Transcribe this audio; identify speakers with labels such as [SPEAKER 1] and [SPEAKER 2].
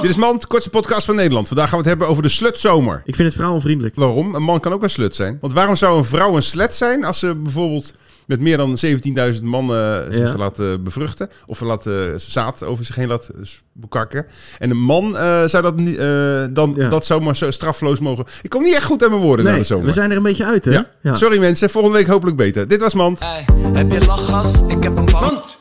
[SPEAKER 1] Dit is Mand, kortste podcast van Nederland. Vandaag gaan we het hebben over de slutzomer.
[SPEAKER 2] Ik vind het vrouwenvriendelijk.
[SPEAKER 1] Waarom? Een man kan ook een slut zijn. Want waarom zou een vrouw een slet zijn als ze bijvoorbeeld met meer dan 17.000 mannen zich
[SPEAKER 2] Ja.
[SPEAKER 1] laat eh, bevruchten? Of laat eh, zaad over zich heen laat eh, bekakken? En een man eh, zou dat, niet, eh, dan,
[SPEAKER 2] Ja.
[SPEAKER 1] dat zomaar zo straffeloos mogen... Ik kom niet echt goed aan mijn woorden na
[SPEAKER 2] Nee,
[SPEAKER 1] de zomer.
[SPEAKER 2] we zijn er een beetje uit, hè?
[SPEAKER 1] Ja. Sorry mensen, volgende week hopelijk beter. Dit was Mand.
[SPEAKER 3] Hey, heb je lachgas? Ik heb een band.